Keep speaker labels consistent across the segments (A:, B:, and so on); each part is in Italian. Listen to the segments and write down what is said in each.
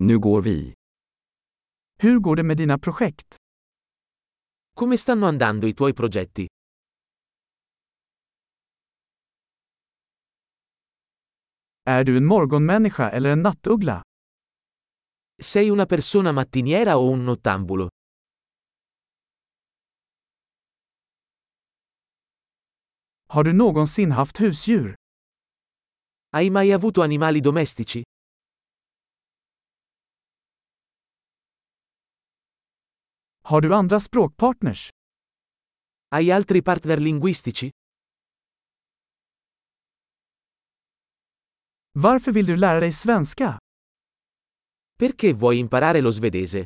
A: Nu går vi.
B: Hur går det med dina projekt?
C: Come stanno andando i tuoi progetti?
B: Är du en morgonmänniska eller en nattuggla?
C: Sei una persona mattiniera o un nottambulo?
B: Har du någonsin haft husdjur?
C: Hai mai avuto animali domestici?
B: Har du andra språkpartners?
C: Hai altri partner linguistici?
B: Varför vill du lära dig svenska?
C: Perché vuoi imparare lo svedese?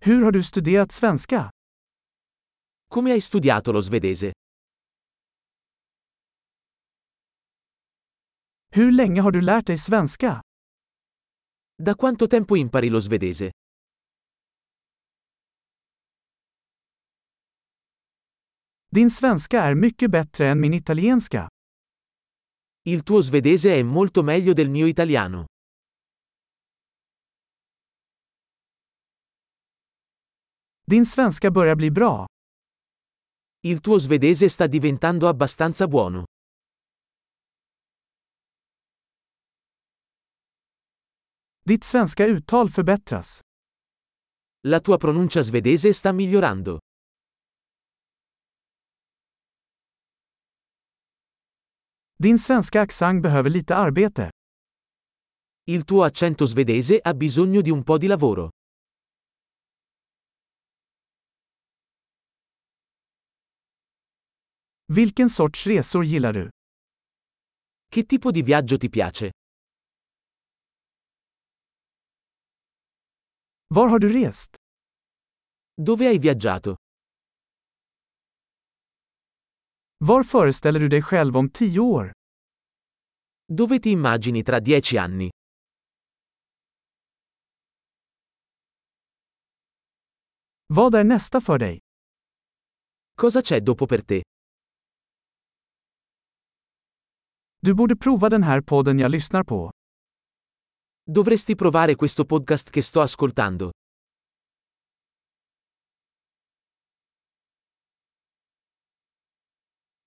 B: Hur har du studerat svenska?
C: Come hai studiato lo svedese?
B: Hur länge har du lärt dig svenska?
C: Da quanto tempo impari lo svedese?
B: Din svenska är mycket bättre än min italienska.
C: Il tuo svedese è molto meglio del mio italiano.
B: Din svenska börjar bli bra.
C: Il tuo svedese sta diventando abbastanza buono.
B: Ditt svenska uttal förbättras.
C: La tua pronuncia svedese sta migliorando.
B: Din svenska accent behöver lite arbete.
C: Il tuo accento svedese ha bisogno di un po' di lavoro.
B: Vilken sorts resor gillar du?
C: Che tipo di viaggio ti piace?
B: Var har du rest?
C: Dove hai viaggiato?
B: Var föreställer du dig själv om tio år?
C: Dove ti immagini tra dieci anni?
B: Vad är nästa för dig?
C: Cosa c'è dopo per te?
B: Du borde prova den här podden jag lyssnar på.
C: Dovresti provare questo podcast che sto ascoltando.